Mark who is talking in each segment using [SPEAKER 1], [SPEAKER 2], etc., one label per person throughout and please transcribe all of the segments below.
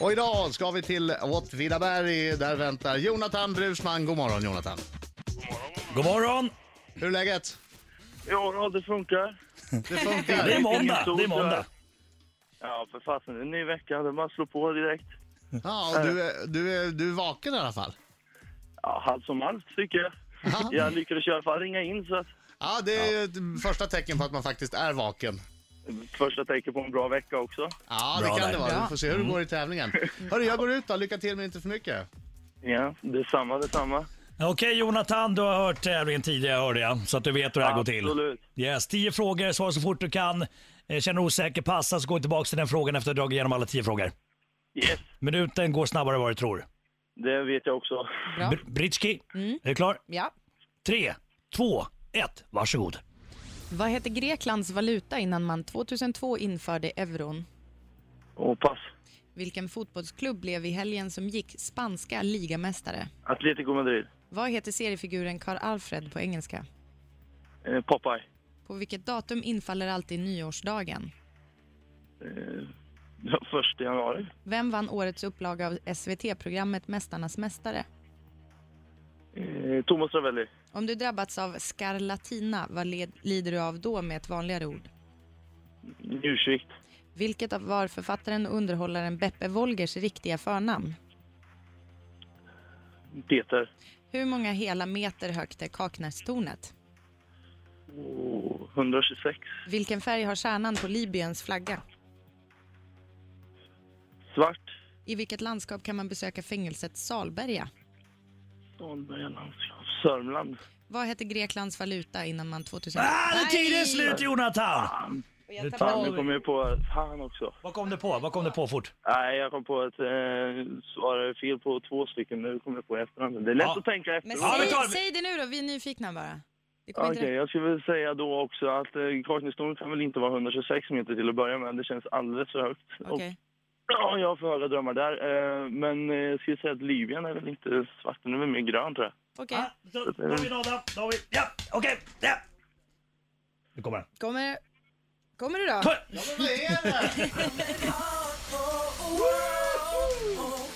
[SPEAKER 1] Och idag ska vi till Åtvidaberg. Där väntar Jonathan Brusman. God morgon Jonathan.
[SPEAKER 2] God morgon!
[SPEAKER 1] Hur är läget?
[SPEAKER 3] Ja, ja, det funkar.
[SPEAKER 1] Det
[SPEAKER 2] Det är
[SPEAKER 1] funkar?
[SPEAKER 2] måndag, det är måndag.
[SPEAKER 3] Ja, för fasen, det är en ny vecka. Det är bara att slå på direkt.
[SPEAKER 1] Ja, och du, är, du, är, du är vaken i alla fall?
[SPEAKER 3] Ja, allt som allt, tycker jag.
[SPEAKER 1] Ja.
[SPEAKER 3] Jag lyckades i alla fall ringa in, så att
[SPEAKER 1] Ja, det är ju ett första tecken på att man faktiskt är vaken.
[SPEAKER 3] första tecken på en bra vecka också.
[SPEAKER 1] Ja,
[SPEAKER 2] Bra
[SPEAKER 1] det kan
[SPEAKER 2] där. Mm.
[SPEAKER 1] det vara.
[SPEAKER 4] Bra.
[SPEAKER 1] Vi får se hur det går i tävlingen. Hörru, jag går ut då. Lycka till men inte för mycket.
[SPEAKER 3] Ja, detsamma, detsamma.
[SPEAKER 2] Okej Jonathan, du har hört tävlingen tidigare hörde jag, så att du vet hur det här går till.
[SPEAKER 3] Absolut.
[SPEAKER 2] Yes, tio frågor, svara så fort du kan. Eh, Känner du osäker, passa så går vi tillbaka till den frågan efter att ha dragit igenom alla tio frågor.
[SPEAKER 3] Yes,
[SPEAKER 2] Minuten går snabbare än vad du tror.
[SPEAKER 3] det vet jag också.
[SPEAKER 4] Bra.
[SPEAKER 2] Br- Britski, är du klar?
[SPEAKER 4] Ja.
[SPEAKER 2] Tre, två, ett, varsågod. Ah,
[SPEAKER 4] Vad hette Greklands valuta innan man 2002 införde euron?
[SPEAKER 3] Och pass.
[SPEAKER 4] Vilken fotbollsklubb blev i helgen som gick spanska ligamästare?
[SPEAKER 3] Atletico Madrid.
[SPEAKER 4] Vad heter seriefiguren Karl Alfred på engelska?
[SPEAKER 3] Eh, Popeye.
[SPEAKER 4] På vilket datum infaller alltid nyårsdagen?
[SPEAKER 3] Eh, ja, första januari.
[SPEAKER 4] Vem vann årets upplaga av SVT-programmet Mästarnas mästare?
[SPEAKER 3] Eh, Thomas Ravelli.
[SPEAKER 4] Om du drabbats av skarlatina, vad led, lider du av då med ett vanligare ord?
[SPEAKER 3] Njursvikt.
[SPEAKER 4] Vilket av var författaren och underhållaren Beppe Wolgers riktiga förnamn?
[SPEAKER 3] Peter.
[SPEAKER 4] Hur många hela meter högt är Kaknästornet?
[SPEAKER 3] Oh, 126.
[SPEAKER 4] Vilken färg har stjärnan på Libyens flagga?
[SPEAKER 3] Svart.
[SPEAKER 4] I vilket landskap kan man besöka fängelset Salberga?
[SPEAKER 3] Stalberga landskap. Sörmland.
[SPEAKER 4] Vad hette Greklands valuta innan man 2000...
[SPEAKER 2] Ah, nu är tiden
[SPEAKER 4] Nej!
[SPEAKER 2] slut Jonathan!
[SPEAKER 4] Jag tappar
[SPEAKER 3] Fan, nu
[SPEAKER 4] bort.
[SPEAKER 3] kom jag på... Fan också.
[SPEAKER 2] Vad kom du på? Vad kom du på fort?
[SPEAKER 3] Nej, jag kom på att eh, svarade fel på två stycken. Nu kom jag på i efterhand. Det är lätt
[SPEAKER 2] Ja.
[SPEAKER 3] att tänka efter.
[SPEAKER 4] Men
[SPEAKER 2] Ja,
[SPEAKER 4] säg,
[SPEAKER 2] men ta-
[SPEAKER 4] säg det nu då, vi är nyfikna bara. Det kommer
[SPEAKER 3] Okej,
[SPEAKER 4] inte...
[SPEAKER 3] jag skulle väl säga då också att eh, Kaknästornet kan väl inte vara 126 meter till att börja med. Det känns alldeles för högt. Och,
[SPEAKER 4] Okej.
[SPEAKER 3] ja, jag har för höga drömmar där. Eh, men eh, jag skulle säga att Libyen är väl inte svart, den är väl mer grön tror jag.
[SPEAKER 4] Okej.
[SPEAKER 2] Ah, så, då har vi en Adam, då har vi... Ja, okej! ja! Nu kommer den.
[SPEAKER 4] Kommer... Kommer du då?
[SPEAKER 2] Kom!
[SPEAKER 1] Ja, men vad är det?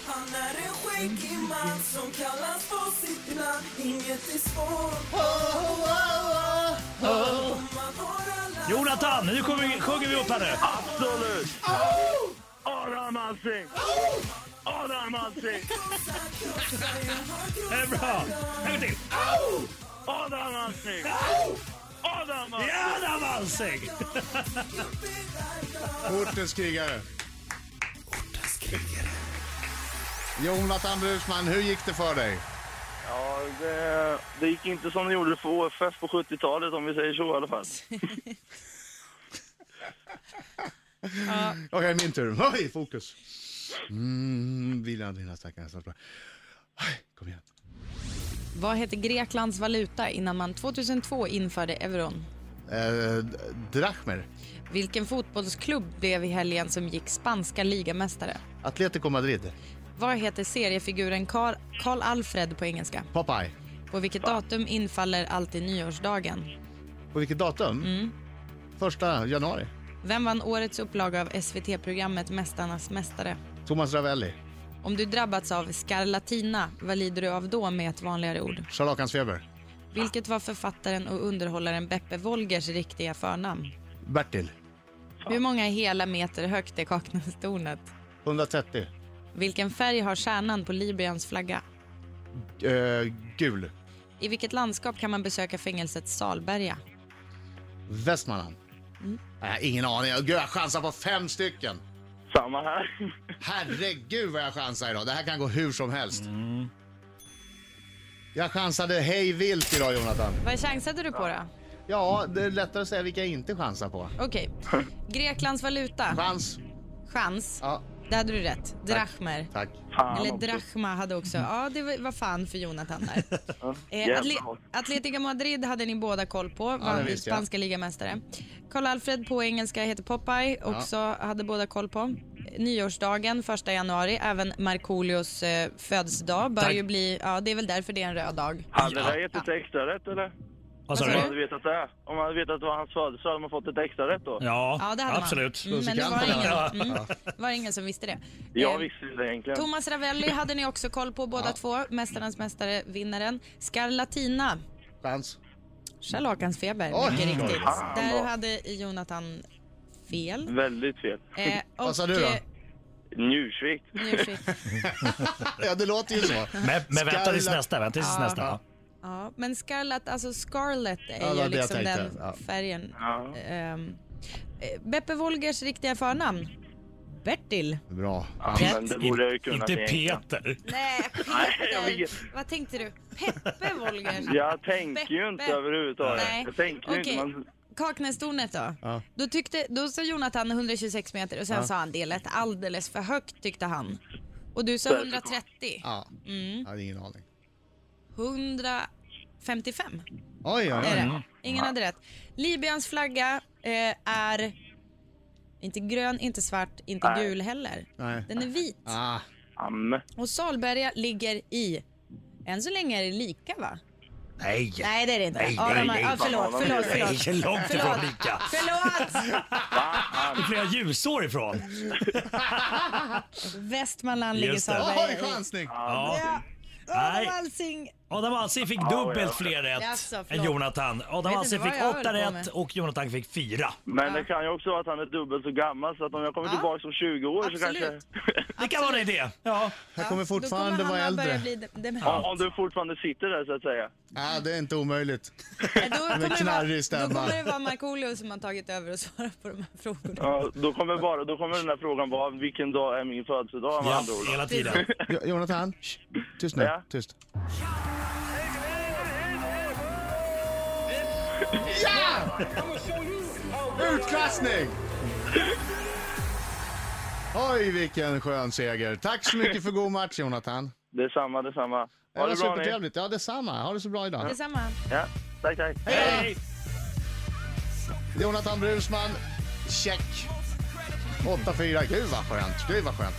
[SPEAKER 5] Han är en skäggig man som kallas på sitt namn Inget är svårt om man har alla
[SPEAKER 2] Jonathan, nu sjunger vi, sjunger vi upp här nu.
[SPEAKER 3] Absolut! Adam Alsing! Adam Alsing!
[SPEAKER 5] krossar Jag har
[SPEAKER 2] Det är bra! En gång till.
[SPEAKER 3] Adam Alsing! Adam Alsing!
[SPEAKER 2] Ja, där var Alsing!
[SPEAKER 1] Ortens krigare. Jonathan Brusman, hur gick det för dig?
[SPEAKER 3] Ja, det, det gick inte som det gjorde för OFF på 70-talet om vi säger så i alla fall.
[SPEAKER 1] Okej, min tur. Oj, fokus. Mm, vila dina stackars snart bra. Aj, Kom igen.
[SPEAKER 4] Vad hette Greklands valuta innan man 2002 införde euron?
[SPEAKER 1] Eh, d- drachmer.
[SPEAKER 4] Vilken fotbollsklubb blev i helgen som gick spanska ligamästare?
[SPEAKER 1] Atletico Madrid.
[SPEAKER 4] Vad heter seriefiguren Karl Karl Alfred på engelska?
[SPEAKER 1] Popeye.
[SPEAKER 4] På vilket datum infaller alltid nyårsdagen?
[SPEAKER 1] På vilket datum? Första januari.
[SPEAKER 4] Vem vann årets upplaga av SVT-programmet Mästarnas mästare?
[SPEAKER 1] Thomas Ravelli.
[SPEAKER 4] Om du drabbats av skarlatina, vad lider du av då med ett vanligare ord?
[SPEAKER 1] Scharlakansfeber.
[SPEAKER 4] Vilket var författaren och underhållaren Beppe Wolgers riktiga förnamn?
[SPEAKER 1] Bertil.
[SPEAKER 4] Hur många hela meter högt är Kaknästornet?
[SPEAKER 1] 130.
[SPEAKER 4] Vilken färg har stjärnan på Libyens flagga?
[SPEAKER 1] Eh, gul.
[SPEAKER 4] I vilket landskap kan man besöka fängelset Salberga?
[SPEAKER 1] Västmanland. Nej, ingen aning. Gud, jag chansar på fem stycken.
[SPEAKER 3] Samma här.
[SPEAKER 1] Herregud vad jag chansar idag. Det här kan gå hur som helst. Jag chansade hej vilt idag Jonathan.
[SPEAKER 4] Vad chansade du på då?
[SPEAKER 1] Ja, det är lättare att säga vilka jag inte chansar på.
[SPEAKER 4] Okej. Greklands valuta,
[SPEAKER 1] Chans.
[SPEAKER 4] chans.
[SPEAKER 1] Ja,
[SPEAKER 4] Där hade du rätt. Drachmer.
[SPEAKER 1] tack.
[SPEAKER 3] Fan
[SPEAKER 4] Eller
[SPEAKER 3] också.
[SPEAKER 4] Drachma hade också. Ja, det var- var fan för Jonathan där.
[SPEAKER 3] Ja,
[SPEAKER 4] Eh,
[SPEAKER 3] jävla
[SPEAKER 4] Atle-
[SPEAKER 3] hat.
[SPEAKER 4] Atletico Madrid hade ni båda koll på.
[SPEAKER 1] det
[SPEAKER 4] Vann
[SPEAKER 1] visste jag.
[SPEAKER 4] spanska ligamästare. Karl Alfred på engelska heter Popeye. Också hade båda koll på. Nyårsdagen, första januari. Även Markoolios eh, födelsedag bör
[SPEAKER 2] Tack.
[SPEAKER 4] ju bli... Ja, det är väl därför det är en röd dag.
[SPEAKER 3] Hade det där gett ett extra rätt eller?
[SPEAKER 2] Vad sa
[SPEAKER 3] Om man
[SPEAKER 4] Vad sa
[SPEAKER 2] du?
[SPEAKER 3] hade vetat det, om man hade vetat att det var hans födelsedag hade man fått ett extra rätt då.
[SPEAKER 2] Ja,
[SPEAKER 4] Ja, det hade
[SPEAKER 2] absolut.
[SPEAKER 4] man. Mm, men det var
[SPEAKER 1] Musikanten, ja.
[SPEAKER 4] ingen, mm, var ingen som visste det.
[SPEAKER 3] Jag
[SPEAKER 4] Eh,
[SPEAKER 3] visste det egentligen.
[SPEAKER 4] Thomas Ravelli hade ni också koll på båda två. Mästarens mästare-vinnaren. Scarlatina,
[SPEAKER 1] Chans.
[SPEAKER 4] scharlakansfeber,
[SPEAKER 1] Oj.
[SPEAKER 4] mycket riktigt.
[SPEAKER 3] Fan
[SPEAKER 4] Där
[SPEAKER 3] vad-
[SPEAKER 4] hade Jonathan fel.
[SPEAKER 3] Väldigt fel.
[SPEAKER 4] Eh,
[SPEAKER 1] Mm. Vad
[SPEAKER 4] och,
[SPEAKER 1] sa du då?
[SPEAKER 4] eh,
[SPEAKER 3] Njursvikt.
[SPEAKER 4] njursvikt.
[SPEAKER 1] Ja, det låter ju så.
[SPEAKER 2] Men, men vänta tills
[SPEAKER 1] Skarla-
[SPEAKER 2] nästa. Vänta tills
[SPEAKER 4] Ja.
[SPEAKER 2] nästa. Ja.
[SPEAKER 4] Ja, men scarlet, alltså scarlet är
[SPEAKER 1] Ja, det var
[SPEAKER 4] ju
[SPEAKER 1] det jag
[SPEAKER 4] liksom
[SPEAKER 1] tänkte,
[SPEAKER 4] den
[SPEAKER 1] ja.
[SPEAKER 4] färgen.
[SPEAKER 3] Ja.
[SPEAKER 4] Ehm, eh, Beppe Wolgers riktiga förnamn? Bertil.
[SPEAKER 1] Bra.
[SPEAKER 3] Ja,
[SPEAKER 2] Pet-
[SPEAKER 3] men det borde jag ju kunnat
[SPEAKER 2] Inte
[SPEAKER 3] egentligen.
[SPEAKER 2] Peter.
[SPEAKER 4] Nej,
[SPEAKER 3] Nej, jag
[SPEAKER 4] Peter.
[SPEAKER 3] vet.
[SPEAKER 4] Vad tänkte du? Peppe Wolgers?
[SPEAKER 3] Jag tänker ju inte
[SPEAKER 4] Beppe.
[SPEAKER 3] överhuvudtaget.
[SPEAKER 4] Nej.
[SPEAKER 3] Jag tänker ju
[SPEAKER 4] Okej.
[SPEAKER 3] inte. Man...
[SPEAKER 4] Kaknästornet då?
[SPEAKER 1] Ja.
[SPEAKER 4] Då, tyckte, då sa Jonathan 126 meter och sen sa han det lät alldeles för högt tyckte han. Och du sa
[SPEAKER 3] Därför
[SPEAKER 4] 130.
[SPEAKER 1] Ja,
[SPEAKER 4] Mm.
[SPEAKER 1] jag hade ingen aning.
[SPEAKER 4] 155
[SPEAKER 1] Oj, oj,
[SPEAKER 4] är
[SPEAKER 1] oj.
[SPEAKER 4] det. Ingen hade rätt. Libyens flagga eh, är inte grön, inte svart, inte
[SPEAKER 3] Nej.
[SPEAKER 4] gul heller.
[SPEAKER 1] Nej.
[SPEAKER 4] Den är vit.
[SPEAKER 1] Ah,
[SPEAKER 3] Amme.
[SPEAKER 4] Och Salberga ligger i än så länge är det lika va?
[SPEAKER 2] Nej.
[SPEAKER 4] Nej det är det inte.
[SPEAKER 2] Nej,
[SPEAKER 4] ja,
[SPEAKER 2] nej,
[SPEAKER 4] de har-
[SPEAKER 2] nej.
[SPEAKER 4] ja, förlåt, förlåt,
[SPEAKER 2] Nej,
[SPEAKER 4] förlåt.
[SPEAKER 2] långt ifrån
[SPEAKER 4] Förlåt.
[SPEAKER 2] lika.
[SPEAKER 4] Förlåt!
[SPEAKER 2] Det är flera ljusår ifrån.
[SPEAKER 4] Västmanland ligger
[SPEAKER 2] Just det.
[SPEAKER 1] oj,
[SPEAKER 4] Salberga i.
[SPEAKER 1] chansning.
[SPEAKER 2] Ja.
[SPEAKER 4] Ja.
[SPEAKER 2] Nej.
[SPEAKER 4] Adam Alsing.
[SPEAKER 2] Adam Alsing fick dubbelt fler rätt
[SPEAKER 4] Jaså, förlåt.
[SPEAKER 2] än Jonathan. Adam
[SPEAKER 4] inte
[SPEAKER 2] Alsing
[SPEAKER 4] vad
[SPEAKER 2] fick
[SPEAKER 4] jag höll
[SPEAKER 2] åtta
[SPEAKER 4] på
[SPEAKER 2] rätt
[SPEAKER 4] med.
[SPEAKER 2] och Jonathan fick fyra.
[SPEAKER 3] Men det kan ju också vara att han är dubbelt så gammal så att om jag kommer
[SPEAKER 4] Ja.
[SPEAKER 3] tillbaka som 20 år så
[SPEAKER 4] Absolut.
[SPEAKER 3] kanske...
[SPEAKER 2] Det kan vara en idé. Ja.
[SPEAKER 1] Jag kommer
[SPEAKER 4] Ja,
[SPEAKER 1] fortfarande
[SPEAKER 4] då kommer
[SPEAKER 1] vara
[SPEAKER 4] han att börja
[SPEAKER 1] äldre.
[SPEAKER 4] Bli de, de,
[SPEAKER 3] Ja, om du fortfarande sitter där så att säga.
[SPEAKER 1] Ja, det är inte omöjligt.
[SPEAKER 4] Nej, då, kommer det
[SPEAKER 1] knarrig
[SPEAKER 4] vara,
[SPEAKER 1] stämma.
[SPEAKER 4] då kommer det vara Markoolio som har tagit över och svarat på de här frågorna.
[SPEAKER 3] Ja, då, kommer bara, då kommer den här frågan vara vilken dag är min födelsedag med
[SPEAKER 2] ja,
[SPEAKER 3] andra ord.
[SPEAKER 2] hela tiden.
[SPEAKER 1] Jo- Jonathan, shh, tyst nu.
[SPEAKER 3] Ja.
[SPEAKER 1] Tyst. Ja! Utklassning! Oj, vilken skön seger. Tack så mycket för god match, Jonathan.
[SPEAKER 3] Detsamma, detsamma.
[SPEAKER 1] Det
[SPEAKER 3] Ha
[SPEAKER 1] var
[SPEAKER 3] det bra ni.
[SPEAKER 1] supertrevligt. Ja, detsamma. Ha det så bra idag.
[SPEAKER 4] Detsamma.
[SPEAKER 3] Ja, tack, tack. Hej!
[SPEAKER 1] Jonathan Brusman, check. 8-4. Gud vad skönt. Gud vad skönt.